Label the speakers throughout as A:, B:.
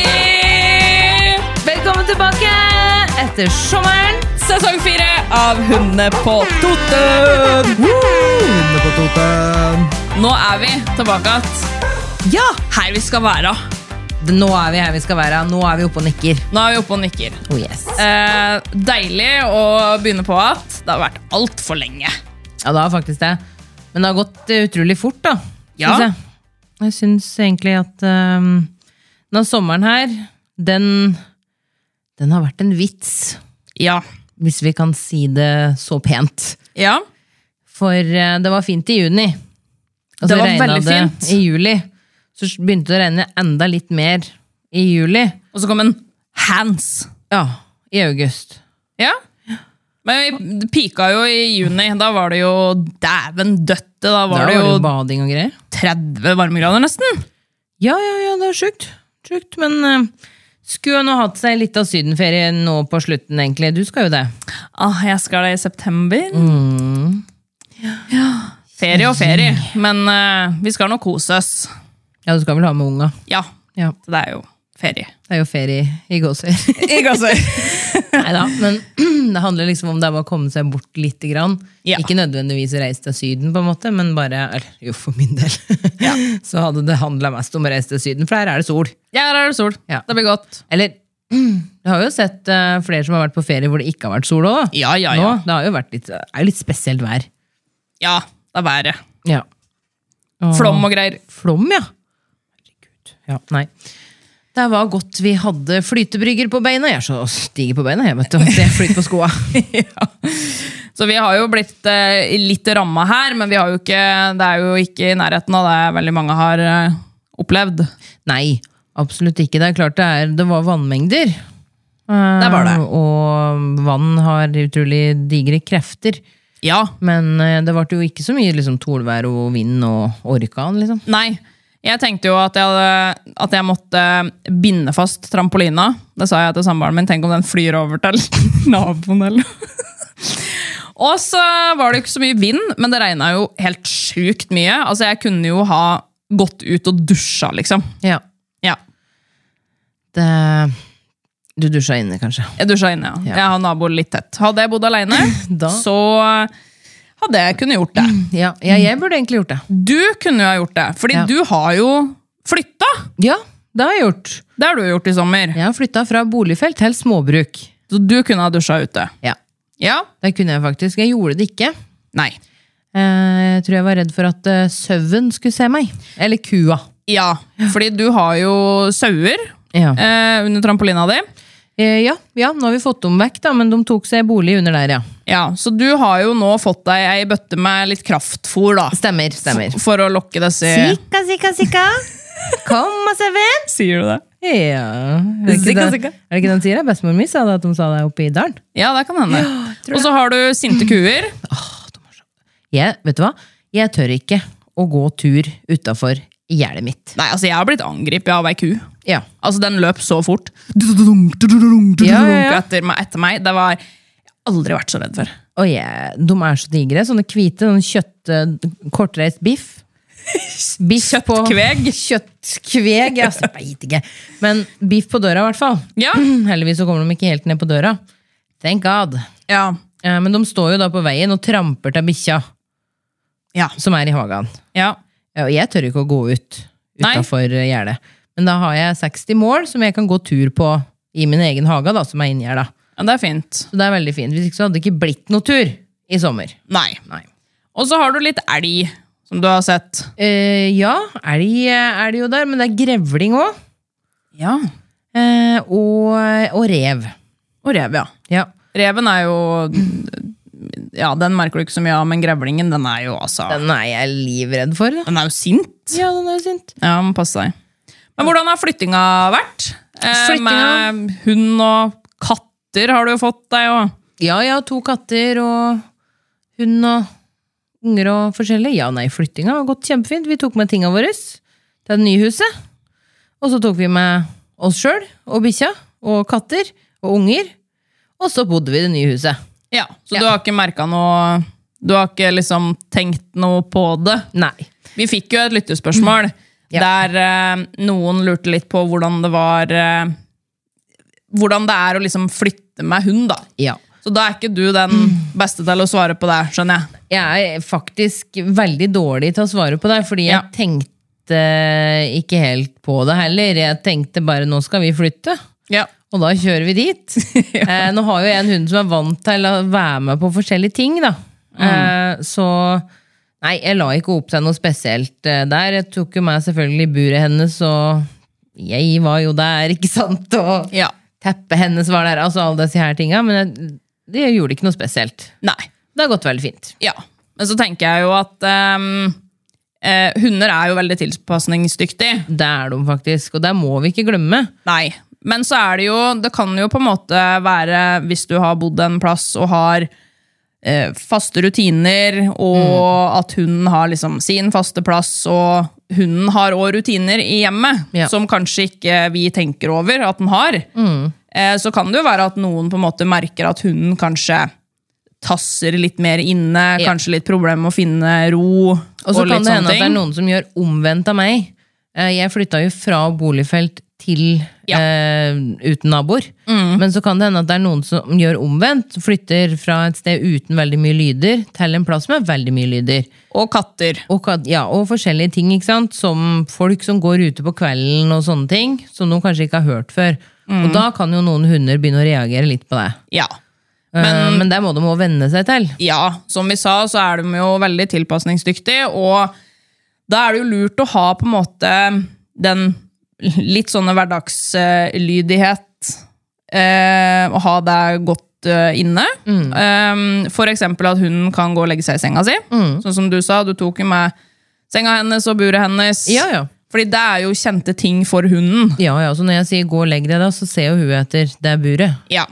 A: Endelig! Velkommen tilbake etter sommeren, sesong fire av Hundene på Toten!
B: Hundene på Toten.
A: Nå er vi tilbake igjen. Ja! Her vi skal være.
C: Nå er vi her vi skal være. Nå er vi oppe og nikker.
A: Nå er vi oppe og nikker.
C: Oh yes.
A: Eh, deilig å begynne på igjen. Det har vært altfor lenge.
C: Ja, det har faktisk det. Men det har gått eh, utrolig fort, da.
A: Ja.
C: Synes jeg. jeg syns egentlig at um, denne sommeren her, den, den har vært en vits.
A: Ja.
C: Hvis vi kan si det så pent.
A: Ja.
C: For eh, det var fint i juni. Og
A: Det
C: så
A: var
C: regnet
A: veldig
C: det
A: fint.
C: I juli. Så begynte det å regne enda litt mer i juli.
A: Og så kom en hands.
C: Ja, i august.
A: Ja. Men vi pika jo i juni. Da var det jo dæven døtte. Da var
C: da
A: det jo
C: bading og greier.
A: 30 varmegrader nesten.
C: Ja, ja, ja, det er sjukt. Sjukt, men eh, skulle jo nå hatt seg litt av sydenferie nå på slutten, egentlig. Du skal jo det.
A: Ah, jeg skal det i september. Mm. Ja. Ferie og ferie, men eh, vi skal nå kose oss.
C: Ja, du skal vel ha med unga.
A: Ja,
C: Ja,
A: så det er jo ferie.
C: det er jo ferie i gåser.
A: Ikke altså.
C: Neida, men det handler liksom om det er bare å komme seg bort litt. Grann.
A: Ja.
C: Ikke nødvendigvis å reise til Syden, på en måte, men bare, eller jo, for min del, så hadde det handla mest om å reise til Syden, for her er det sol.
A: Ja, her er det sol.
C: Ja.
A: Det blir godt.
C: Eller, jeg har jo sett eh, flere som har vært på ferie hvor det ikke har vært sol òg.
A: Ja, ja, ja.
C: Det har jo vært litt, det er jo litt spesielt vær.
A: Ja, det er været.
C: Ja. Og-
A: Flom og greier.
C: Flom, ja. Herregud. Ja, nei. Det var godt vi hadde flytebrygger på beina. Jeg er så stiger på beina, jeg, vet du. at Jeg flyter på skoa.
A: ja. Så vi har jo blitt eh, litt ramma her, men vi har jo ikke, det er jo ikke i nærheten av det veldig mange har eh, opplevd.
C: Nei, absolutt ikke. Det er klart det, er, det var vannmengder. Det
A: var det.
C: Og vann har utrolig digre krefter.
A: Ja,
C: Men eh, det ble jo ikke så mye liksom, tolvær og vind og orkan, liksom.
A: Nei. Jeg tenkte jo at jeg, hadde, at jeg måtte binde fast trampolina. Det sa jeg til samboeren min. Tenk om den flyr over til naboen, eller Og så var det jo ikke så mye vind, men det regna jo helt sjukt mye. Altså, jeg kunne jo ha gått ut og dusja, liksom.
C: Ja.
A: Ja.
C: Det, du dusja inne, kanskje.
A: Jeg dusja inne, ja.
C: Ja.
A: Jeg har naboer litt tett. Hadde jeg bodd aleine,
C: Da-
A: så hadde jeg kunnet gjort det.
C: Ja, ja, jeg burde egentlig gjort det.
A: Du kunne jo ha gjort det, fordi
C: Ja.
A: du har jo flytta.
C: Ja, det har jeg gjort.
A: Det har du gjort i sommer.
C: Jeg har flytta fra boligfelt til småbruk.
A: Så du kunne ha dusja ute.
C: Ja,
A: Ja.
C: det kunne jeg faktisk. Jeg gjorde det ikke.
A: Nei.
C: Eh, Jeg tror jeg var redd for at eh, sauen skulle se meg. Eller kua.
A: Ja, fordi du har jo sauer
C: Ja.
A: eh, under trampolina di.
C: Eh, ja, ja, nå har vi fått dem vekk, da, men de tok seg bolig under der, ja.
A: Ja, Så du har jo nå fått deg ei bøtte med litt kraftfôr, da.
C: Stemmer. stemmer. Eh.
A: For å lokke disse
C: Sikka, sikka, sikka. Kom og se venn.
A: Sier du det?
C: Ja. Er det ikke
A: Sikka,
C: det-
A: sikka.
C: Er det ikke det han sier? Bestemor mi sa det at de sa det oppe i dalen.
A: Ja, det kan hende. Og så har du sinte kuer.
C: Jeg, vet du hva? Jeg tør ikke å gå tur utafor gjerdet mitt.
A: Nei, altså, jeg har blitt angrepet av ei ku.
C: Ja.
A: Altså, den løp så fort.
C: Ja, ja, ja.
A: Etter meg, etter meg. Det var Jeg har aldri vært så redd før.
C: Og jeg, de er så digre. Sånne hvite, sånn kjøtt, eh, kortreist biff. biff på-
A: Kjøttkveg.
C: Kjøttkveg, ja, så jeg vet ikke. Men biff på døra, i hvert fall.
A: Ja.
C: Heldigvis så kommer de ikke helt ned på døra. Thank God.
A: Ja.
C: Eh, Men de står jo da på veien og tramper til bikkja
A: Ja.
C: som er i hagen.
A: ja.
C: Ja, Og jeg tør ikke å gå ut
A: Nei.
C: utafor eh, gjerdet. Men da har jeg 60 mål som jeg kan gå tur på i min egen hage, da, som er inni her. da.
A: ja det er fint.
C: Så det er veldig fint. Hvis ikke så hadde det ikke blitt noe tur i sommer.
A: Nei. Og så har du litt elg, Som du har sett.
C: Eh, ja, elg eh, er det jo der, men det er grevling òg.
A: Ja.
C: Eh, og, og rev.
A: Og rev, ja.
C: Ja.
A: Reven er jo Ja, den merker du ikke så mye av, men grevlingen, den er jo altså Den,
C: Den er jeg livredd for. Da.
A: er jo sint.
C: Ja, den er jo sint.
A: Ja, må passe seg. Men hvordan har flyttinga vært? Eh,
C: Flyttinga?
A: Med hund og katter har du jo fått deg òg.
C: Ja, jeg har to katter og hund og unger og forskjellig. Ja, nei, flyttinga har gått kjempefint. Vi tok med tinga våre til det nye huset. Og så tok vi med oss sjøl og bikkja og katter og unger. Og så bodde vi i det nye huset.
A: Ja, så du har ikke merka noe Du har ikke liksom tenkt noe på det?
C: Nei.
A: Vi fikk jo et lyttespørsmål
C: Ja.
A: der eh, noen lurte litt på hvordan det var eh, Hvordan det er å liksom flytte med hund, da.
C: Ja.
A: Så da er ikke du den beste til å svare på det, skjønner jeg.
C: Jeg er faktisk veldig dårlig til å svare på deg, fordi jeg
A: Ja.
C: tenkte ikke helt på det heller. Jeg tenkte bare nå skal vi flytte,
A: Ja.
C: og da kjører vi dit. eh, nå har jo jeg en hund som er vant til å være med på forskjellige ting, da.
A: Mm.
C: Eh, så nei, jeg la ikke opp til noe spesielt eh, der. Jeg tok jo meg selvfølgelig i buret hennes, og jeg var jo der, ikke sant? Og
A: Ja.
C: teppet hennes var der, altså alle disse her tinga. Men jeg, det gjorde ikke noe spesielt.
A: Nei.
C: Det har gått veldig fint.
A: Ja. Men så tenker jeg jo at ehm, eh, hunder er jo veldig tilpasningsdyktige.
C: Det er de faktisk, og det må vi ikke glemme.
A: Nei. Men så er det jo Det kan jo på en måte være, hvis du har bodd en plass og har eh, faste rutiner,
C: Mm.
A: og at hunden har liksom sin faste plass, og hunden har òg rutiner i hjemmet
C: Ja.
A: som kanskje ikke vi tenker over at den har,
C: Mm.
A: eh, så kan det jo være at noen på en måte merker at hunden kanskje tasser litt mer inne,
C: Ja.
A: kanskje litt problemer med å finne ro.
C: Og så kan
A: litt
C: det
A: sånne
C: hende at det er
A: ting.
C: noen som gjør omvendt av meg. Eh, Jeg flytta jo fra boligfelt til
A: Ja.
C: eh, uten naboer. Men så kan det hende at det er noen som gjør omvendt. Flytter fra et sted uten veldig mye lyder til en plass med veldig mye lyder.
A: Og katter.
C: Og, ka- ja, og forskjellige ting, ikke sant? som folk som går ute på kvelden og sånne ting. Som noen kanskje ikke har hørt før. Og da kan jo noen hunder begynne å reagere litt på det.
A: Ja.
C: Men, Men det må de òg venne seg til.
A: ja, som vi sa, så er de jo veldig tilpasningsdyktige, og da er det jo lurt å ha på en måte den litt sånne hverdagslydighet, eh, å ha det godt eh, inne.
C: Mm.
A: Eh, for eksempel at hunden kan gå og legge seg i senga si,
C: Mm.
A: sånn som du sa, du tok jo med senga hennes og buret hennes.
C: Ja, ja.
A: Fordi det er jo kjente ting for hunden.
C: Ja, ja, så når jeg sier 'gå og legg deg', da, så ser jo hun etter det buret.
A: Ja.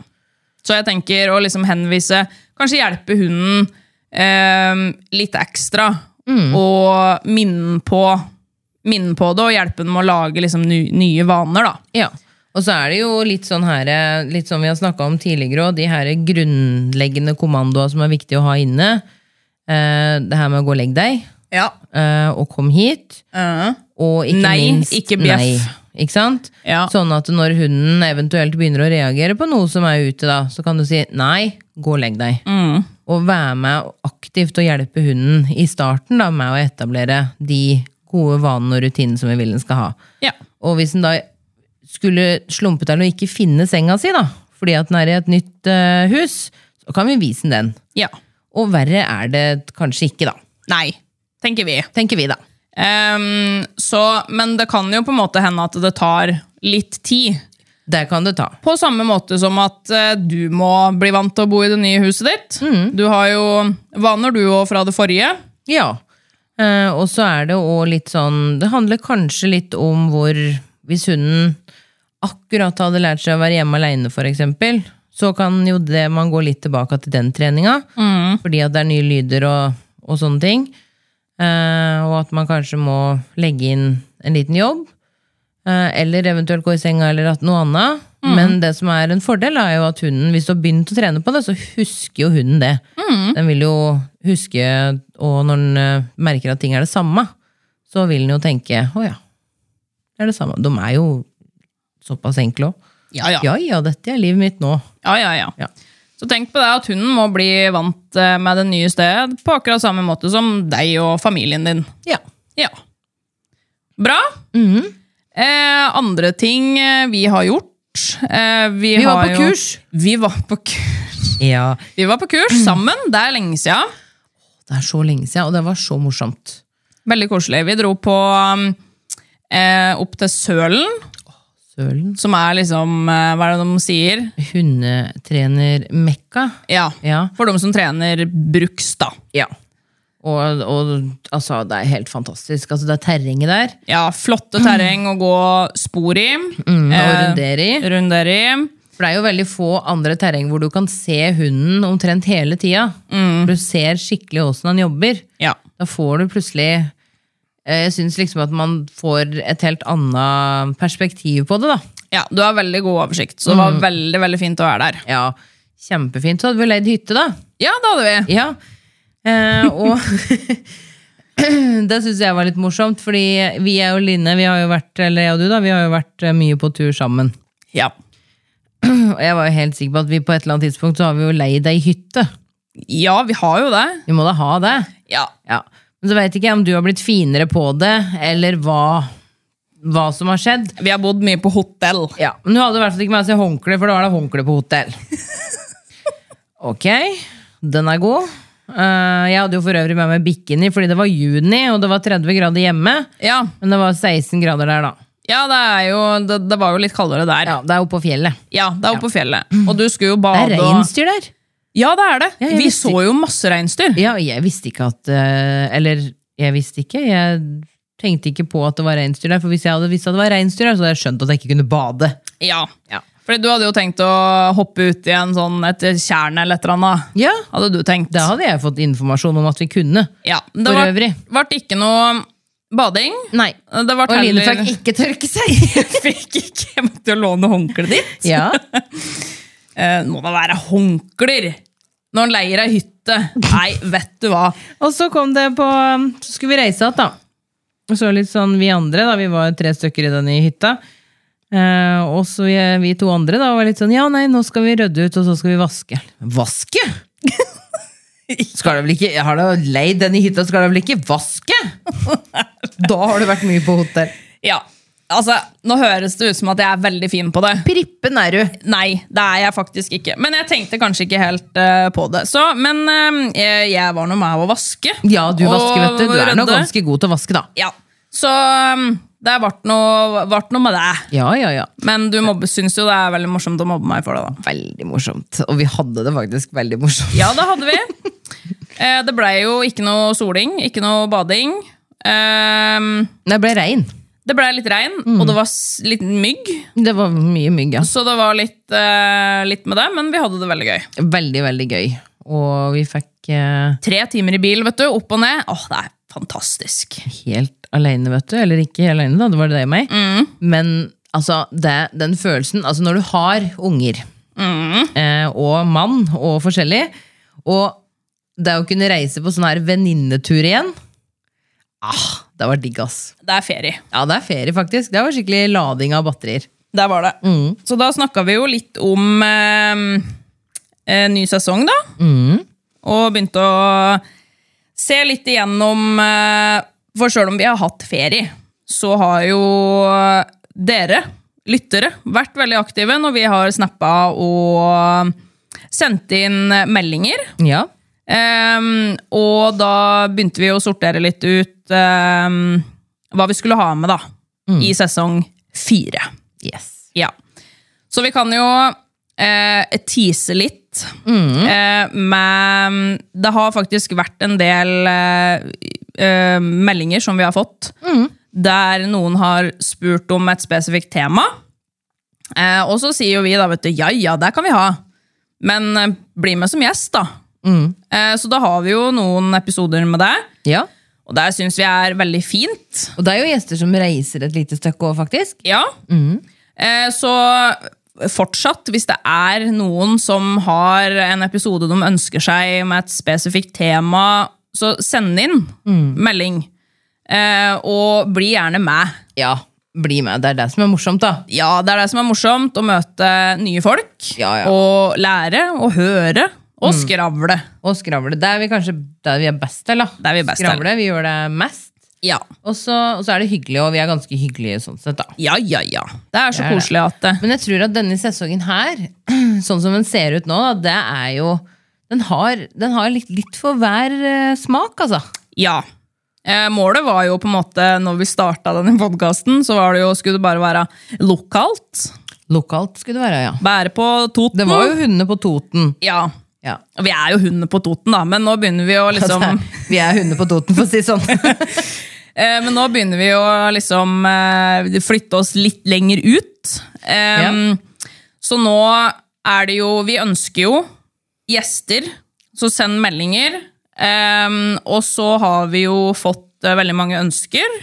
A: Så jeg tenker å liksom henvise Kanskje hjelpe hunden eh, litt ekstra. Mm. Og minne på, minne på det, og hjelpe den med å lage liksom, ny, nye vaner. da.
C: Ja. Og så er det jo litt sånn her, eh, litt som vi har snakka om tidligere òg, de her grunnleggende kommandoa som er viktig å ha inne. Eh, det her med å gå og legg deg,
A: Ja.
C: eh, og kom hit.
A: Eh.
C: Og ikke
A: Nei,
C: minst
A: ikke bjeff.
C: Nei, ikke sant?
A: Ja.
C: Sånn at når hunden eventuelt begynner å reagere på noe som er ute, da, så kan du si 'nei, gå og legg deg'.
A: Mm.
C: Og være med aktivt og hjelpe hunden i starten da, med å etablere de gode vanene og rutinene som vi vil den skal ha.
A: Ja.
C: Og hvis den da skulle slumpe til å ikke finne senga si, da, fordi at den er i et nytt eh, hus, så kan vi vise den den.
A: ja.
C: Og verre er det kanskje ikke, da.
A: Nei, tenker vi.
C: Tenker vi, da.
A: Ehm, så, men det kan jo på en måte hende at det tar litt tid.
C: Der kan det ta.
A: På samme måte som at eh, du må bli vant til å bo i det nye huset ditt. Du har jo vaner, du òg, fra det forrige.
C: Ja. Eh, og så er det òg litt sånn Det handler kanskje litt om hvor Hvis hunden akkurat hadde lært seg å være hjemme aleine, f.eks., så kan jo det man gå litt tilbake til den treninga, fordi at det er nye lyder og, og sånne ting. Eh, og at man kanskje må legge inn en liten jobb. eh, Eller eventuelt gå i senga eller at noe annet. Men det som er en fordel, er jo at hunden, hvis du har begynt å trene på det, så husker jo hunden det. Den vil jo huske, og når den eh, merker at ting er det samme, så vil den jo tenke å ja, det er det samme. De er jo såpass enkle òg.
A: Ja, ja.
C: Ja ja, dette er livet mitt nå.
A: Ja, ja, ja.
C: Ja.
A: Så tenk på det at hunden må bli vant eh, med det nye stedet på akkurat samme måte som deg og familien din.
C: Ja.
A: Ja. Bra.
C: Mhm.
A: eh, andre ting eh, vi har gjort eh, vi,
C: Vi var
A: har
C: på
A: jo,
C: kurs. Mhm.
A: Vi var på, ku-
C: ja.
A: vi var på kurs sammen. Det er lenge siden.
C: Det er så lenge siden, og det var så morsomt.
A: Veldig koselig. Vi dro på um, eh, opp til Sølen,
C: Sølen.
A: som er liksom eh, Hva er det de sier?
C: Hundetrener Mekka.
A: Ja.
C: Ja.
A: For de som trener bruks, da.
C: Ja. Og, og altså, det er helt fantastisk. Altså, det er terrenget der
A: Ja, Flotte terreng å gå spor i. Mm,
C: eh, å rundere i.
A: Rundere i.
C: For det er jo veldig få andre terreng hvor du kan se hunden omtrent hele tida. Du ser skikkelig åssen han jobber.
A: Ja.
C: Da får du plutselig eh, Jeg syns liksom at man får et helt annet perspektiv på det, da.
A: ja, Du har veldig god oversikt, så det
C: Mm.
A: var veldig veldig fint å være der.
C: Ja, kjempefint. Så hadde vi leid hytte, da.
A: Ja, det hadde vi.
C: Ja. Eh, og det syns jeg var litt morsomt, fordi vi er jo Line, vi har jo vært, eller jeg og du, da, vi har jo vært eh, mye på tur sammen.
A: Ja.
C: Og jeg var jo helt sikker på at vi på et eller annet tidspunkt så har vi jo leid ei hytte.
A: ja, vi har jo det.
C: Vi må da ha det.
A: Ja.
C: Ja. Men så veit ikke jeg om du har blitt finere på det, eller hva, hva som har skjedd.
A: Vi har bodd mye på hotell.
C: Ja, men Hun hadde i hvert fall ikke med seg håndkle, for da var det håndkle på hotell. Ok, den er god. Eh, jeg hadde jo for øvrig med meg bikini, fordi det var juni, og det var 30 grader hjemme.
A: Ja,
C: Men det var 16 grader der, da.
A: ja det, er jo, det, det var jo litt kaldere der.
C: Ja, Det er oppe på fjellet.
A: Ja, det er oppe på fjellet. Og du skulle jo
C: Det er
A: bade. og-
C: reinsdyr der!
A: Ja, det er det.
C: Ja, jeg
A: vi
C: visste
A: så jo masse reinsdyr.
C: Ja, jeg visste ikke at eh, Eller, jeg visste ikke. Jeg tenkte ikke på at det var reinsdyr der, for hvis jeg hadde visst at det var reinsdyr der, så hadde jeg skjønt at jeg ikke kunne bade.
A: Ja. Fordi du hadde jo tenkt å hoppe ut i en sånn, et tjern eller et eller annet.
C: Ja,
A: Hadde du tenkt.
C: Da hadde jeg fått informasjon om at vi kunne.
A: Ja, det
C: For
A: vart-
C: øvrig.
A: vart ikke noe bading.
C: Nei.
A: Det vart
C: Og Line
A: heller-
C: fikk ikke tørke seg!
A: fikk ikke. Jeg måtte jo låne håndkleet ditt.
C: ja.
A: Eh, må da være håndklær når en leier ei hytte. Nei, vet du hva.
C: Og så kom det på um, Så skulle vi reise igjen, da. Og så litt sånn vi andre, da. Vi var tre stykker i den i hytta. Eh, og så vi, vi to andre da var litt sånn Ja, nei, nå skal vi rydde ut, og så skal vi vaske. Vaske?! Skal det vel ikke, Har du leid den i hytta, skal det vel ikke vaske?! Da har du vært mye på hotell.
A: Ja, altså, nå høres det ut som at jeg er veldig fin på det.
C: Prippen er du!
A: Nei, det er jeg faktisk ikke. Men jeg tenkte kanskje ikke helt eh, på det. Så, men eh, jeg- jeg var nå med å vaske.
C: Ja, du vasker,
A: Og
C: vet du. Du er nå
A: rydde.
C: ganske god til å vaske, da.
A: Ja. Så um, det ble noe, vart noe med det.
C: Ja, ja, ja.
A: Men du mobbe, syns jo det er veldig morsomt å mobbe meg for det, da.
C: Veldig morsomt. Og vi hadde det faktisk veldig morsomt.
A: Ja, det hadde vi. eh, det blei jo ikke noe soling, ikke noe bading. Ehm,
C: Det ble regn.
A: det blei litt regn, og det var s- litt mygg,
C: Det var mye mygg, ja.
A: så det var litt, eh, litt med det. Men vi hadde det veldig gøy.
C: Veldig, veldig gøy. Og vi fikk eh,
A: Tre timer i bil, vet du. Opp og ned. Åh, det er fantastisk.
C: helt alene, vet du. Eller ikke alene, da. Det var det deg og meg.
A: Mm.
C: Men altså, det, den følelsen Altså, når du har unger,
A: mm.
C: eh, og mann, og forskjellig, og det å kunne reise på sånn her venninnetur igjen Ah, det var digg, ass.
A: Det er ferie.
C: Ja, det er ferie, faktisk. Det var skikkelig lading av batterier.
A: Der var det. Så da snakka vi jo litt om eh, eh, ny sesong, da. Og begynte å se litt igjennom eh, For sjøl om vi har hatt ferie, så har jo dere, lyttere, vært veldig aktive når vi har snappa og sendt inn meldinger.
C: Ja.
A: Ehm, og da begynte vi å sortere litt ut ehm, hva vi skulle ha med da, i sesong fire.
C: Yes.
A: Ja. Så vi kan jo eh, tease litt eh, med Det har faktisk vært en del eh, eh, meldinger som vi har fått, der noen har spurt om et spesifikt tema. Eh, og så sier jo vi da, vet du, ja ja, det kan vi ha, men eh, bli med som gjest, da. Eh, så da har vi jo noen episoder med det,
C: Ja.
A: og det syns vi er veldig fint.
C: Og det er jo gjester som reiser et lite stykke òg, faktisk.
A: Ja.
C: Mm.
A: Eh, så fortsatt, hvis det er noen som har en episode de ønsker seg med et spesifikt tema, så send inn
C: Mm.
A: melding. Eh, og bli gjerne med.
C: Ja, bli med. Det er det som er morsomt, da.
A: Ja, det er det som er morsomt, å møte nye folk.
C: Ja, ja. Mm.
A: Og lære og høre og skravle.
C: Og skravle. Det er vi kanskje der vi er best til. da.
A: Der vi er best til.
C: skravle, vi gjør det mest.
A: Ja,
C: Og så, og så er det hyggelig, og vi er ganske hyggelige sånn sett, da.
A: ja, ja. ja. Det er så
C: er det.
A: koselig at eh,
C: Men jeg tror at denne sesongen her, sånn som den ser ut nå, da, det er jo Den har, den har litt, litt for hver eh, smak, altså.
A: Ja. Eh, Eh, målet var jo på en måte, når vi starta denne podkasten, så var det jo, skulle det bare være lokalt.
C: Lokalt skulle det være, ja.
A: Bære på Toten.
C: Det var jo hundene på Toten.
A: Ja.
C: Ja. Altså,
A: Og Vi er jo hundene på Toten, da, men nå begynner vi å liksom
C: Vi er hundene på Toten, for å si det sånn.
A: Eh, men nå begynner vi å liksom eh, flytte oss litt lenger ut. Em, Så nå er det jo Vi ønsker jo gjester, så send meldinger. Em, og så har vi jo fått eh, veldig mange ønsker.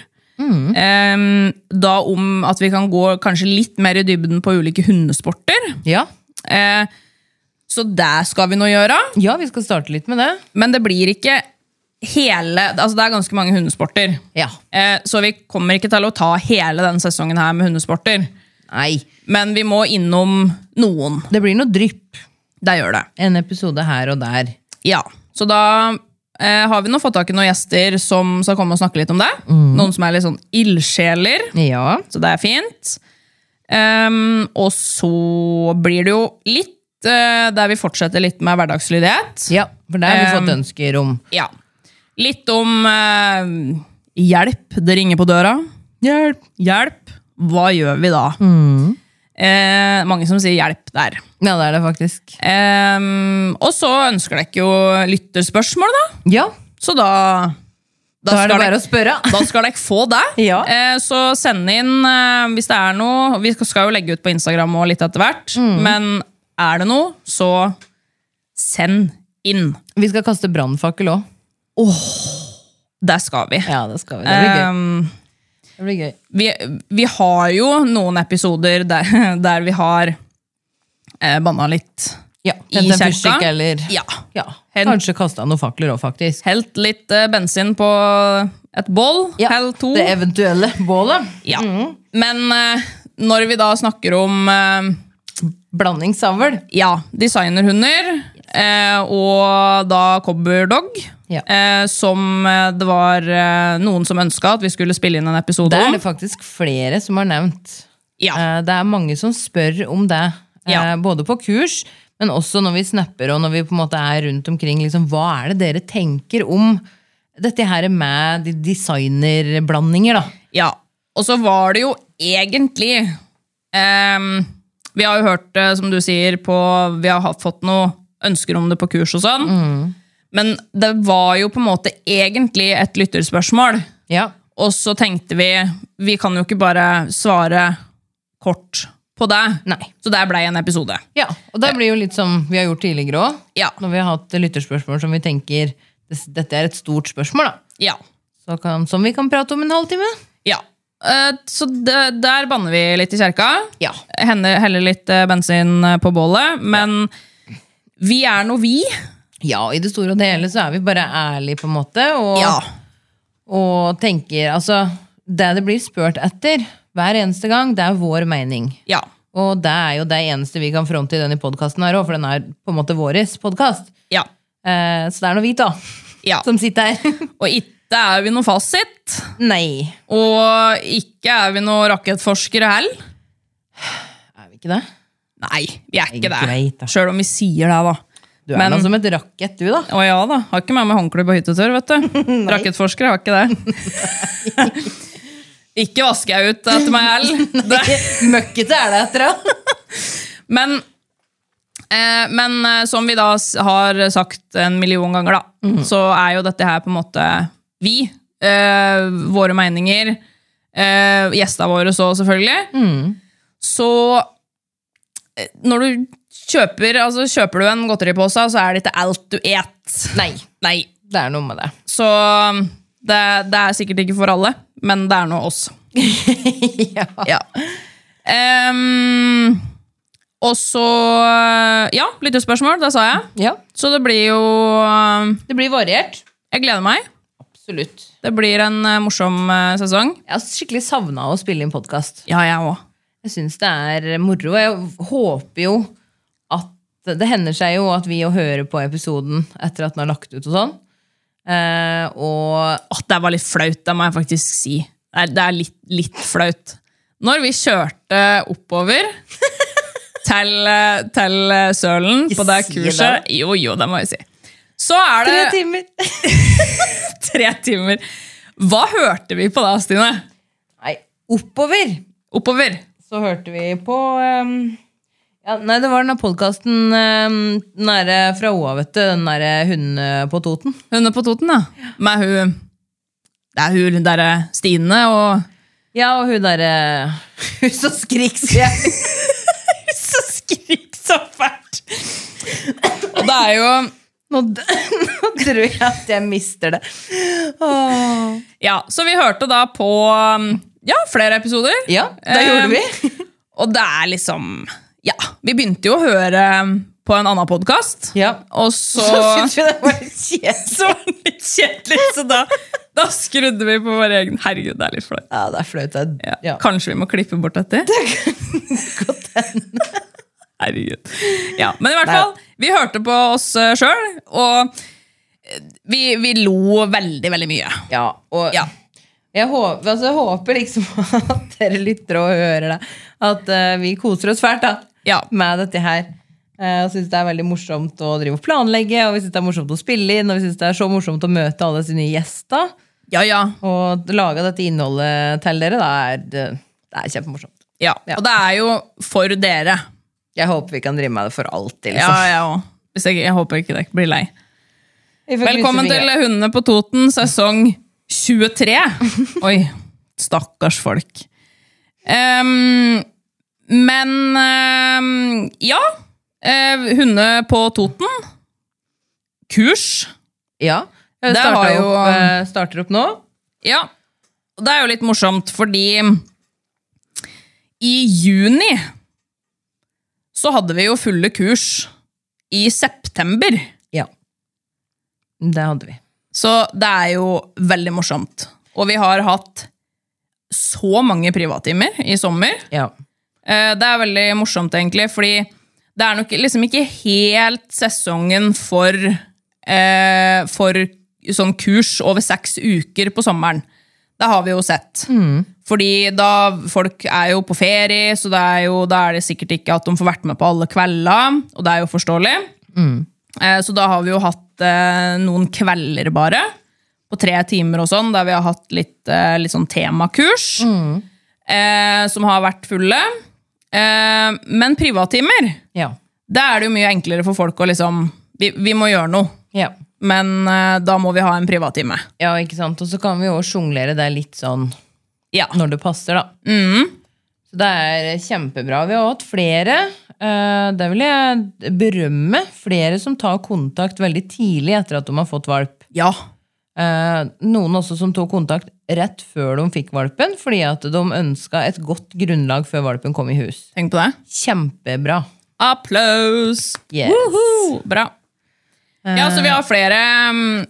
A: Em, da om at vi kan gå kanskje litt mer i dybden på ulike hundesporter.
C: Ja.
A: Eh, så det skal vi nå gjøre.
C: ja, vi skal starte litt med det.
A: Men det blir ikke hele Altså det er ganske mange hundesporter.
C: Ja.
A: Eh, Så vi kommer ikke til å ta hele denne sesongen her med hundesporter.
C: Nei.
A: Men vi må innom noen.
C: Det blir noe drypp.
A: Det gjør det.
C: En episode her og der.
A: Ja. Så da eh, har vi nå fått tak i noen gjester som skal komme og snakke litt om det. Noen som er litt sånn ildsjeler.
C: Ja.
A: Så det er fint. Ehm, og så blir det jo litt eh, der vi fortsetter litt med hverdagslydighet.
C: ja for der har vi
A: Um,
C: fått ønsker om
A: Ja. Litt om eh, hjelp. Det ringer på døra. Hjelp! Hjelp. Hva gjør vi da?
C: Mm.
A: Eh, mange som sier hjelp der.
C: Ja, det er det faktisk.
A: Ehm, og så ønsker dere jo lytterspørsmål, da.
C: Ja,
A: Så da
C: da, er det
A: skal
C: bare å
A: dere-
C: spørre.
A: da skal dere få det.
C: Ja.
A: Eh, så send inn eh, hvis det er noe. Vi skal- skal jo legge ut på Instagram og litt etter hvert.
C: Mm.
A: Men er det noe, så send inn.
C: Vi skal kaste brannfakkel òg.
A: Det skal vi.
C: Ja, det skal vi. Det blir gøy.
A: Ehm,
C: Det blir gøy.
A: vi, vi har jo noen episoder der, der vi har eh, banna litt.
C: Ja,
A: I
C: Hent en
A: kjerka?
C: fyrstikk eller
A: Ja.
C: ja.
A: Hent-
C: Kanskje kasta noen fakler òg, faktisk.
A: Helt litt eh, bensin på et bål.
C: Ja,
A: Helt to.
C: Det Mm. eventuelle bålet.
A: ja. Men eh, når vi da snakker om eh,
C: Blandingsavl.
A: ja, designerhunder eh, og da cobberdog,
C: Ja.
A: eh, som eh, det var eh, noen som ønska at vi skulle spille inn en episode
C: Det er
A: om.
C: det faktisk flere som har nevnt.
A: Ja.
C: Eh, Det er mange som spør om det, eh,
A: Ja.
C: både på kurs, men også når vi snapper og når vi på en måte er rundt omkring. Liksom, hva er det dere tenker om dette her med de designerblandinger, da?
A: Ja, og så var det jo egentlig ehm, Vi har jo hørt det, som du sier, på Vi har hatt- fått noen ønsker om det på kurs og sånn. Men det var jo på en måte egentlig et lytterspørsmål.
C: Ja.
A: Og så tenkte vi vi kan jo ikke bare svare kort på det.
C: Nei.
A: Så der blei en episode.
C: ja. Og det blir jo litt som vi har gjort tidligere òg.
A: Ja.
C: Når vi har hatt lytterspørsmål som vi tenker "Des- dette er et stort spørsmål, da.
A: Ja.
C: Så kan, som vi kan prate om en halvtime.
A: ja. Eh, så det, der banner vi litt i kjerka.
C: Ja.
A: Hender, heller litt eh, bensin eh, på bålet. Men vi er nå vi.
C: Ja, i det store og det hele så er vi bare ærlige, på en måte. Og og tenker Altså, det det blir spurt etter hver eneste gang, det er vår mening.
A: Ja.
C: Og det er jo det eneste vi kan fronte i denne podkasten her òg, for den er på en måte våres podkast.
A: Ja.
C: Eh, så det er nå vi, da,
A: ja.
C: som sitter her.
A: Og ikke er vi noe fasit,
C: Nei.
A: og ikke er vi noe rakettforskere heller.
C: Er vi ikke det?
A: Nei, vi er ikke
C: Det er greit, da.
A: det. Sjøl om vi sier det, da.
C: Du er
A: Men-
C: nå som et rakett, du, da.
A: Å ja da, har ikke med meg håndkle på hyttetur, vet du. Rakettforskere har ikke det. ikke vasker jeg ut etter meg heller. Det-
C: Møkkete er det etter det.
A: Men, eh, men eh, som vi da s- har sagt en million ganger, da, så er jo dette her på en måte vi. Eh, våre meninger. Eh, gjestene våre så, selvfølgelig. Så eh, når du kjøper, altså, kjøper du en godteripose, så er det ikke alt du et.
C: Nei. Nei. Det er noe med det.
A: Så um, det, det er sikkert ikke for alle, men det er nå oss.
C: ja.
A: Ja. Ehm, og så Ja, lyttespørsmål, det sa jeg.
C: ja.
A: Så det blir jo ehm,
C: Det blir variert.
A: Jeg gleder meg.
C: Absolutt.
A: Det blir en eh, morsom eh, sesong.
C: Jeg har skikkelig savna å spille inn podkast.
A: Ja, jeg òg.
C: Jeg syns det er moro. og Jeg håper jo at Det hender seg jo at vi jo hører på episoden etter at den er lagt ut og sånn. Eh, og
A: At det var litt flaut, det må jeg faktisk si. Det er, det er litt, litt flaut. Når vi kjørte oppover til, eh, til eh, Sølen på det
C: Si det.
A: kurset Jo, jo, det må jeg si. Så er det
C: timer!
A: tre timer. Hva hørte vi på da, Stine?
C: Nei, oppover
A: Oppover.
C: så hørte vi på ehm, ja, Nei, det var den der podkasten um, nære fra Oa, vet du. Den derre hunden eh, på Toten.
A: Hun er på Toten, da. Med hun Det er hun der eh, Stine og
C: Ja, og hun derre Hun som skrik, sier jeg.
A: Så skrik så fælt! Og det er jo
C: Nå, d- nå tror jeg at jeg mister det. Åh.
A: Ja, så vi hørte da på um, ja, flere episoder. Eh,
C: Ja, det gjorde vi.
A: Og det er liksom Ja, vi begynte jo å høre um, på en annen podkast.
C: Ja.
A: Og så,
C: Så syntes vi det var litt kjedelig.
A: så var det litt kjedelig, så da, da skrudde vi på vår egen Herregud, det er litt flaut.
C: Ja, det er flaut. det
A: Ja.
C: er- Ja.
A: Kanskje vi må klippe bort dette? Herregud. Ja, men i hvert fall, vi hørte på oss sjøl, og eh, vi, vi lo veldig, veldig mye.
C: Ja, og
A: Ja.
C: jeg, håper, altså, jeg håper liksom at dere lytter og hører det. At eh, vi koser oss fælt da,
A: Ja.
C: med dette her. Eh, og syns det er veldig morsomt å drive og planlegge, og vi syns det er morsomt å spille inn, og vi syns det er så morsomt å møte alle disse nye gjester.
A: Ja, ja.
C: Og lage dette innholdet til dere, da er det, det er kjempemorsomt.
A: Ja,
C: Ja.
A: og det er jo for dere.
C: Jeg håper vi kan drive med det for alltid.
A: Ja,
C: Liksom.
A: jeg òg. Hvis jeg, jeg håper ikke dere blir lei.
C: Vi får krysse
A: Velkommen til
C: fingrene.
A: Hundene på Toten, sesong 23. Oi, stakkars folk. Ehm, men ehm, ja. Uh, Hunde på Toten. Kurs.
C: Ja. Jeg
A: Der har
C: starter,
A: jo-
C: opp, eh, starter opp nå.
A: Ja, og det er jo litt morsomt, fordi i juni så hadde vi jo fulle kurs i september.
C: Ja. Det hadde vi.
A: Så det er jo veldig morsomt. Og vi har hatt så mange privattimer i sommer.
C: Ja.
A: Eh, Det er veldig morsomt, egentlig, fordi det er nok liksom ikke helt sesongen for, eh, for sånn kurs over seks uker på sommeren. Det har vi jo sett. Fordi da folk er jo på ferie, så det er jo, da er det sikkert ikke at de får vært med på alle kvelder, og det er jo forståelig. Eh, Så da har vi jo hatt eh, noen kvelder bare, på tre timer og sånn, der vi har hatt litt, eh, litt sånn temakurs, eh, som har vært fulle. Eh, men privattimer,
C: Ja.
A: da er det jo mye enklere for folk å liksom Vi, vi må gjøre noe,
C: ja.
A: men eh, da må vi ha en privattime.
C: Ja, ikke sant? Og så kan vi jo også sjonglere det litt sånn
A: Ja.
C: når det passer, da. Så det er kjempebra. Vi har hatt flere. eh, Det vil jeg berømme. Flere som tar kontakt veldig tidlig etter at de har fått valp.
A: ja.
C: Eh, Noen også som tok kontakt rett før de fikk valpen, fordi at de ønska et godt grunnlag før valpen kom i hus.
A: Tenk på det.
C: Kjempebra.
A: Applaus!
C: Yes.
A: Woho! Bra. Ja, så vi har flere mm,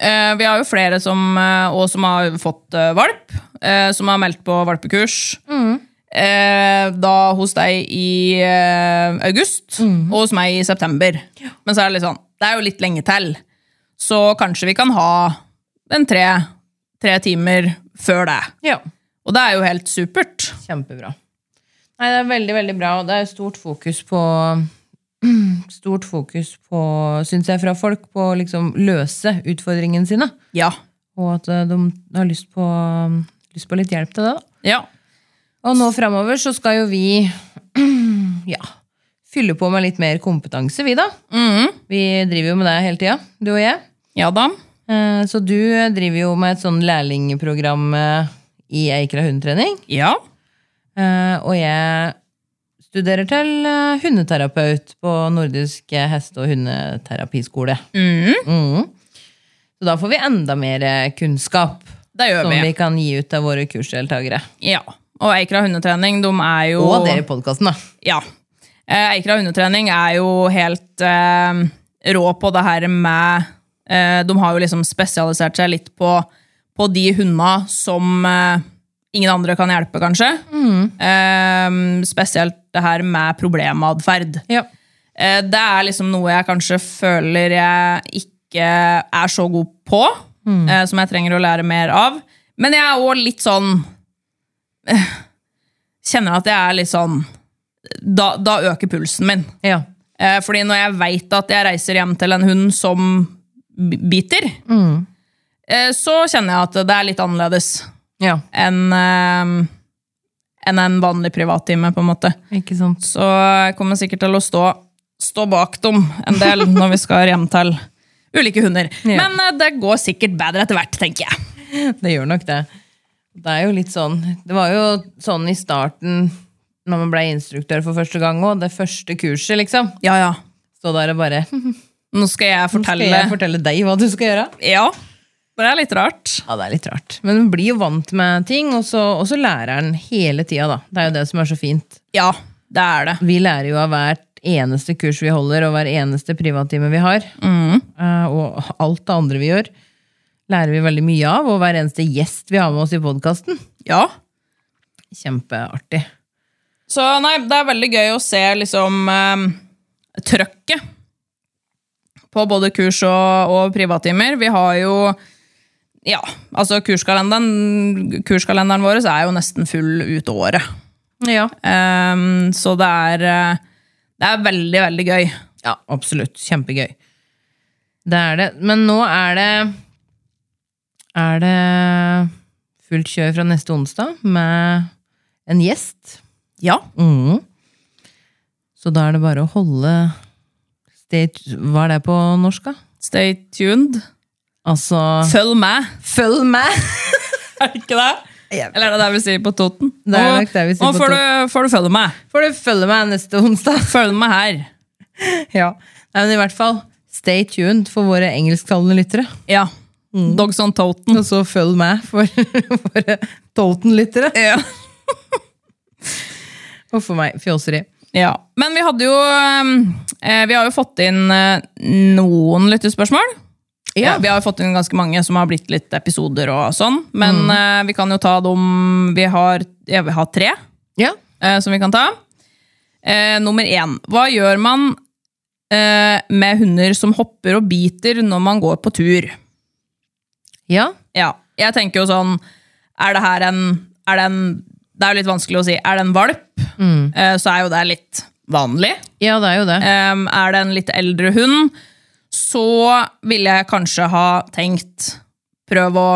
A: eh, Vi har jo flere som eh, Og som har fått eh, valp eh, Som har meldt på valpekurs
C: Mm.
A: eh, Da hos deg i eh, august
C: Mm.
A: Og hos meg i september Men så er det litt sånn, det er jo litt lenge til Så kanskje vi kan ha En tre, tre timer Før det
C: Ja,
A: Og det er jo helt supert
C: kjempebra. Nei, det er veldig, veldig bra, og det er stort fokus på Stort fokus på, syns jeg, fra folk på å liksom løse utfordringene sine.
A: Ja,
C: Og at eh, de har lyst på, lyst på litt hjelp til det. da.
A: ja,
C: Og nå framover så skal jo vi ja, fylle på med litt mer kompetanse, vi, da. Vi driver jo med det hele tida, du og jeg.
A: ja da
C: Eh, Så du driver jo med et sånn lærlingprogram eh, i Eikra hundetrening.
A: Ja,
C: Eh, og jeg studerer til eh, hundeterapeut på Nordisk eh, heste- og hundeterapiskole. Mhm. Så da får vi enda mer eh, kunnskap
A: det gjør
C: som
A: vi
C: vi kan gi ut til våre kursdeltakere.
A: Ja. Og Eikra hundetrening, de er jo
C: Og dere i podkasten, da.
A: Ja. Eh, Eikra hundetrening er jo helt eh, rå på det her med eh, De har jo liksom spesialisert seg litt på, på de hundene som eh, ingen andre kan hjelpe, kanskje. Eh, spesielt det her med problematferd.
C: Ja.
A: Eh, Det er liksom noe jeg kanskje føler jeg ikke er så god på, eh, som jeg trenger å lære mer av. Men jeg er òg litt sånn eh, Kjenner at jeg er litt sånn Da, da øker pulsen min.
C: ja.
A: Eh, Fordi når jeg veit at jeg reiser hjem til en hund som b- biter, eh, så kjenner jeg at det er litt annerledes
C: Ja,
A: enn eh, enn en vanlig privattime, på en måte.
C: ikke sant.
A: Så jeg kommer sikkert til å stå, stå bak dem en del når vi skal hjem til ulike hunder.
C: Ja.
A: Men eh, det går sikkert bedre etter hvert, tenker jeg.
C: Det gjør nok det. Det er jo litt sånn Det var jo sånn i starten, når man ble instruktør for første gang òg, det første kurset, liksom.
A: Ja, ja.
C: Stå der og bare
A: Nå skal jeg
C: Skal
A: fortelle.
C: jeg fortelle deg hva du skal gjøre?
A: Ja. For det er litt rart.
C: Ja, det er litt rart. Men man blir jo vant med ting, og så, og så lærer en hele tida, da. Det er jo det som er så fint.
A: Ja, det er det.
C: Vi lærer jo av hvert eneste kurs vi holder, og hver eneste privattime vi har. Eh, og alt det andre vi gjør, lærer vi veldig mye av. Og hver eneste gjest vi har med oss i podkasten.
A: Ja.
C: Kjempeartig.
A: Så nei, det er veldig gøy å se liksom eh, trøkket på både kurs og, og privattimer. Vi har jo ja, altså kurskalenderen, kurskalenderen vår er jo nesten full ut året.
C: Ja.
A: Ehm, så det er, eh, det er veldig, veldig gøy.
C: Ja, absolutt. Kjempegøy. Det er det. Men nå er det Er det fullt kjør fra neste onsdag med en gjest.
A: Ja.
C: Mhm. Så da er det bare å holde stage, Hva er det på norsk, da?
A: Stay tuned.
C: Altså
A: Følg med.
C: Følg med!
A: Er det ikke det? Eller er det det vi sier på Toten?
C: Det er
A: Nå-
C: nok det vi sier
A: nå
C: på
A: får du, får du følge med.
C: Får du følge meg neste onsdag?
A: Følg med her.
C: Ja. Nei, men i hvert fall, stay tuned for våre engelsktalende lyttere.
A: Ja.
C: Mm.
A: Dogs on Toten.
C: Og så følg med for våre Toten-lyttere.
A: Ja.
C: Og for meg, fjåseri.
A: ja. Men vi hadde jo ehm, eh, Vi har jo fått inn eh, noen lyttespørsmål. Ja. vi har jo fått inn ganske mange som har blitt litt episoder og sånn. Men
C: Mm.
A: eh, vi kan jo ta dem Vi har, ja, vi har tre.
C: Ja.
A: eh, som vi kan ta. Eh, nummer én. Hva gjør man eh, med hunder som hopper og biter når man går på tur?
C: Ja.
A: Ja, jeg tenker jo sånn Er det her en, er det en Det er jo litt vanskelig å si. Er det en valp, eh, så er jo det litt vanlig.
C: Ja, det er jo det.
A: Em, er det en litt eldre hund, så ville jeg kanskje ha tenkt prøv å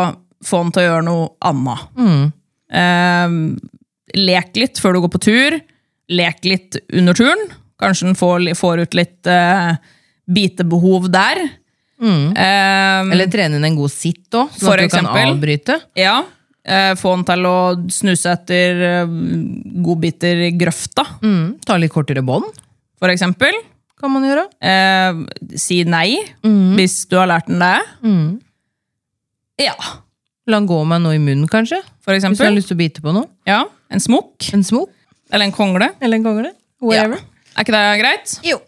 A: få den til å gjøre noe annet.
C: Mm.
A: Em, lek litt før du går på tur. Lek litt under turen. Kanskje den får, li- får ut litt eh, bitebehov der. Em,
C: Mm. Eller trene inn en god sitt òg, sånn
A: For
C: at du kan
A: eksempel.
C: avbryte.
A: ja. eh, få den til å snuse etter eh, godbiter i grøfta,
C: Mm. Ta litt kortere bånd,
A: for eksempel.
C: kan man gjøre.
A: Eh, si nei
C: Mm.
A: hvis du har lært den det. Ja,
C: La den gå med noe i munnen, kanskje.
A: for
C: Hvis du har
A: eksempel.
C: lyst til å bite på noe.
A: Ja, en smokk
C: En smokk
A: eller en kongle.
C: eller en kongle.
A: Ja.
C: Whatever.
A: Er ikke det greit?
C: Jo.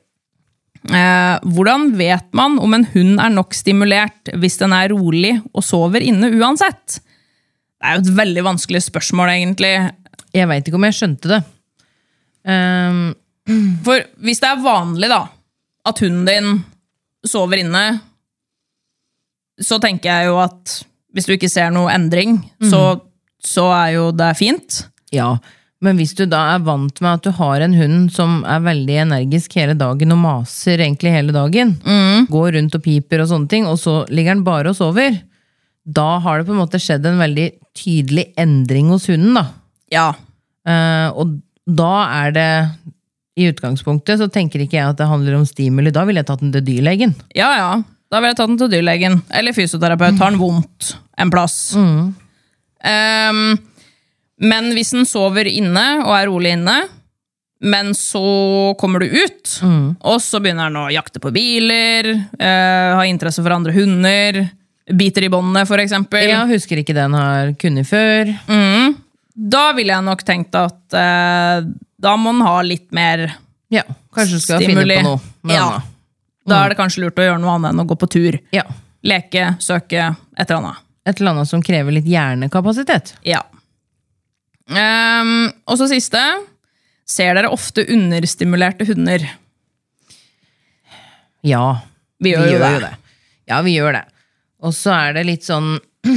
A: Eh, hvordan vet man om en hund er nok stimulert hvis den er rolig og sover inne uansett? Det er jo et veldig vanskelig spørsmål, egentlig.
C: Jeg veit ikke om jeg skjønte det. Ehm,
A: For hvis det er vanlig da, at hunden din sover inne, så tenker jeg jo at hvis du ikke ser noe endring, så, så er jo det fint.
C: ja. Men hvis du da er vant med at du har en hund som er veldig energisk hele dagen og maser egentlig hele dagen,
A: Mm.
C: går rundt og piper og sånne ting, og så ligger den bare og sover, da har det på en måte skjedd en veldig tydelig endring hos hunden, da.
A: Ja.
C: Eh, og da er det I utgangspunktet så tenker ikke jeg at det handler om stimuli. Da ville jeg tatt den til dyrlegen.
A: Ja, ja. Da vil jeg ta den til dyrlegen. Eller fysioterapeut. Har den vondt en plass.
C: Mm.
A: Ehm, men hvis den sover inne og er rolig inne, men så kommer du ut,
C: Mm.
A: og så begynner den å jakte på biler, eh, ha interesse for andre hunder, biter i båndene, for eksempel. Mm.
C: Jeg husker ikke det en har kunnet før.
A: Da ville jeg nok tenkt at eh, da må den ha litt mer
C: Ja, Kanskje du skal
A: stimuli.
C: finne på noe. med Mm.
A: ja.
C: denne.
A: Da er det kanskje lurt å gjøre noe annet enn å gå på tur.
C: ja.
A: Leke, søke, et eller annet.
C: Et eller annet som krever litt hjernekapasitet.
A: Ja. Ehm, og så siste. Ser dere ofte understimulerte hunder?
C: Ja,
A: Vi gjør jo det.
C: Ja, vi gjør det. Og så er det litt sånn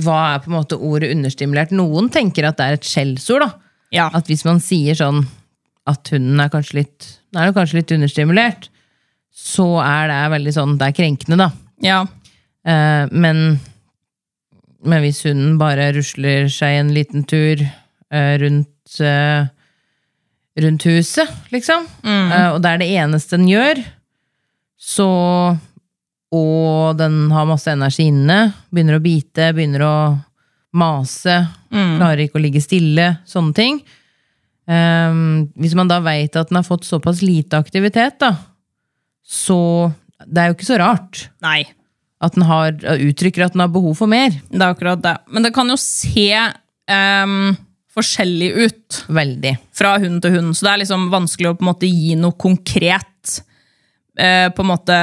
C: Hva er på en måte ordet understimulert? Noen tenker at det er et skjellsord, da.
A: Ja.
C: at hvis man sier sånn at hunden er kanskje litt, den er jo kanskje litt understimulert, så er det veldig sånn, det er krenkende da.
A: ja.
C: Eh, men Men hvis hunden bare rusler seg en liten tur eh, rundt, eh, rundt huset, liksom, eh, og det er det eneste den gjør, så Og den har masse energi inne, begynner å bite, begynner å mase, klarer ikke å ligge stille, sånne ting. Ehm, hvis man da veit at den har fått såpass lite aktivitet, da, så Det er jo ikke så rart
A: Nei.
C: at den har, uttrykker at den har behov for mer.
A: Det er akkurat det. Men det kan jo se ehm, forskjellig ut
C: Veldig.
A: fra hund til hund, så det er liksom vanskelig å på en måte gi noe konkret eh, på en måte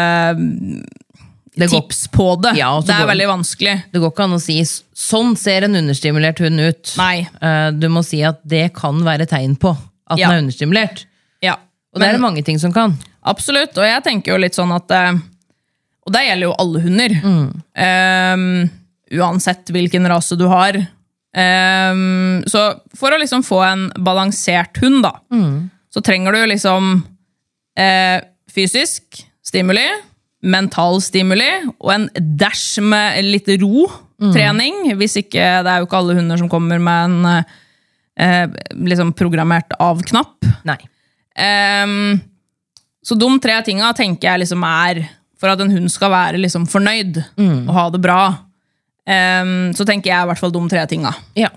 C: Det går,
A: tips på det.
C: Ja, og så
A: det er
C: går-
A: veldig vanskelig.
C: det går ikke an å si "S- 'sånn ser en understimulert hund ut'.
A: Nei.
C: Eh, Du må si at det kan være tegn på at
A: Ja.
C: den er understimulert.
A: Ja.
C: Og det er det mange ting som kan.
A: Absolutt, og jeg tenker jo litt sånn at eh, Og det gjelder jo alle hunder. Ehm, uansett hvilken rase du har. Ehm, så for å liksom få en balansert hund, da, så trenger du liksom eh, fysisk stimuli, mental stimuli og en dash med litt ro. Trening, hvis ikke Det er jo ikke alle hunder som kommer med en eh, eh, liksom programmert av-knapp.
C: Nei.
A: Ehm, så de tre tinga tenker jeg liksom er for at en hund skal være liksom fornøyd
C: Mm.
A: og ha det bra. Ehm, så tenker jeg i hvert fall de tre tinga.
C: Ja.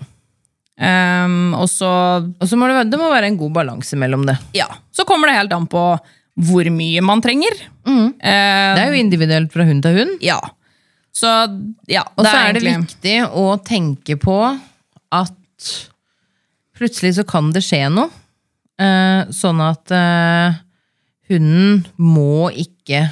A: Ehm, og så,
C: Og så må det, være- det må være en god balanse mellom det.
A: ja, så kommer det helt an på hvor mye man trenger. Ehm,
C: Mm. Det er jo individuelt fra hund til hund.
A: ja. Så ja,
C: Og så er det
A: egentlig-
C: viktig å tenke på at plutselig så kan det skje noe. Eh, sånn at eh, hunden må ikke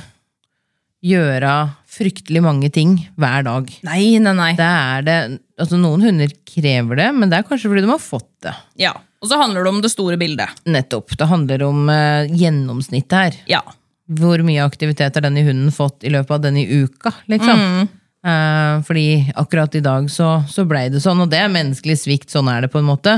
C: gjøre fryktelig mange ting hver dag.
A: Nei, nei, nei.
C: Det er det, altså Noen hunder krever det, men det er kanskje fordi de har fått det.
A: Ja. Og så handler det om det store bildet.
C: Nettopp. Det handler om eh, gjennomsnittet her.
A: Ja.
C: Hvor mye aktivitet har denne hunden fått i løpet av denne uka? liksom?
A: Mm.
C: Eh, fordi akkurat i dag så, så blei det sånn, og det er menneskelig svikt. Sånn er det på en måte.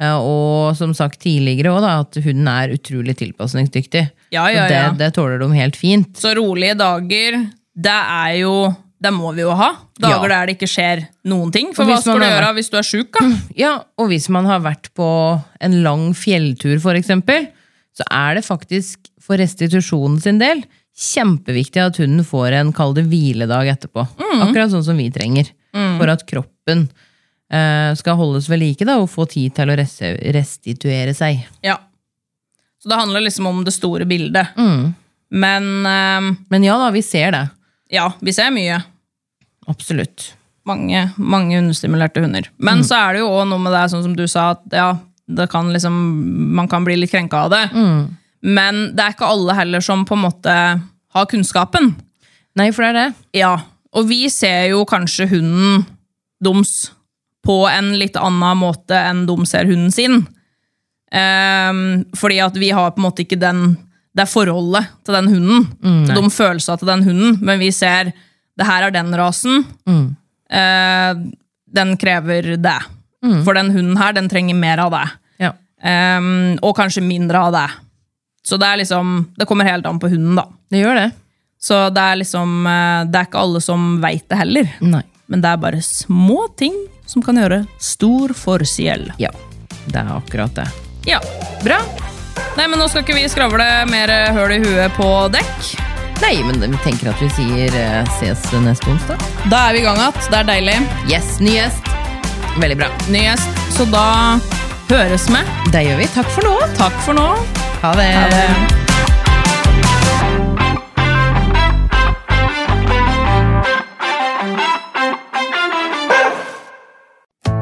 C: Eh, og som sagt tidligere òg, at hunden er utrolig tilpasningsdyktig.
A: Ja, ja,
C: så det,
A: ja.
C: det tåler de helt fint.
A: Så rolige dager, det er jo Det må vi jo ha. Dager
C: Ja.
A: der det ikke skjer noen ting. For
C: Og
A: hva
C: hvis
A: skal
C: man Mm.
A: du
C: er-
A: gjøre hvis du er sjuk, da?
C: Ja, Og hvis man har vært på en lang fjelltur, for eksempel, så er det faktisk for restitusjonen sin del kjempeviktig at hunden får en kall det hviledag etterpå. Akkurat sånn som vi trenger. For at kroppen eh, skal holdes ved like da, og få tid til å res- restituere seg.
A: Ja. Så det handler liksom om det store bildet.
C: Mm.
A: Men eh,
C: Men ja da, vi ser det.
A: ja, vi ser mye.
C: Absolutt.
A: Mange, mange understimulerte hunder.
C: Mm.
A: Men så er det jo òg noe med det, sånn som du sa, at ja, det kan liksom, man kan bli litt krenka av det.
C: Mm.
A: Men det er ikke alle heller som på en måte har kunnskapen.
C: Nei, for det er det.
A: Ja, og vi ser jo kanskje hunden doms på en litt annen måte enn de ser hunden sin. Ehm, fordi at vi har på en måte ikke den, det forholdet til den hunden. de følelsene til den hunden, men vi ser det her er den rasen. Eh, den krever det. For den hunden her, den trenger mer av det.
C: Ja.
A: Ehm, og kanskje mindre av det. Så det er liksom, det kommer helt an på hunden, da.
C: Det gjør det.
A: Så det er liksom eh, Det er ikke alle som veit det heller.
C: Nei.
A: Men det er bare små ting som kan gjøre stor forskjell.
C: Ja, det er akkurat det.
A: Ja, bra. Nei, men nå skal ikke vi skravle mer eh, høl i huet på dekk.
C: Nei, men vi tenker at vi sier eh, ses neste onsdag.
A: Da er vi i gang igjen. Det er deilig.
C: Yes, ny gjest. Veldig bra.
A: Ny gjest. Så da høres vi.
C: Det gjør vi. Takk for nå.
A: Takk for nå.
C: Ha det.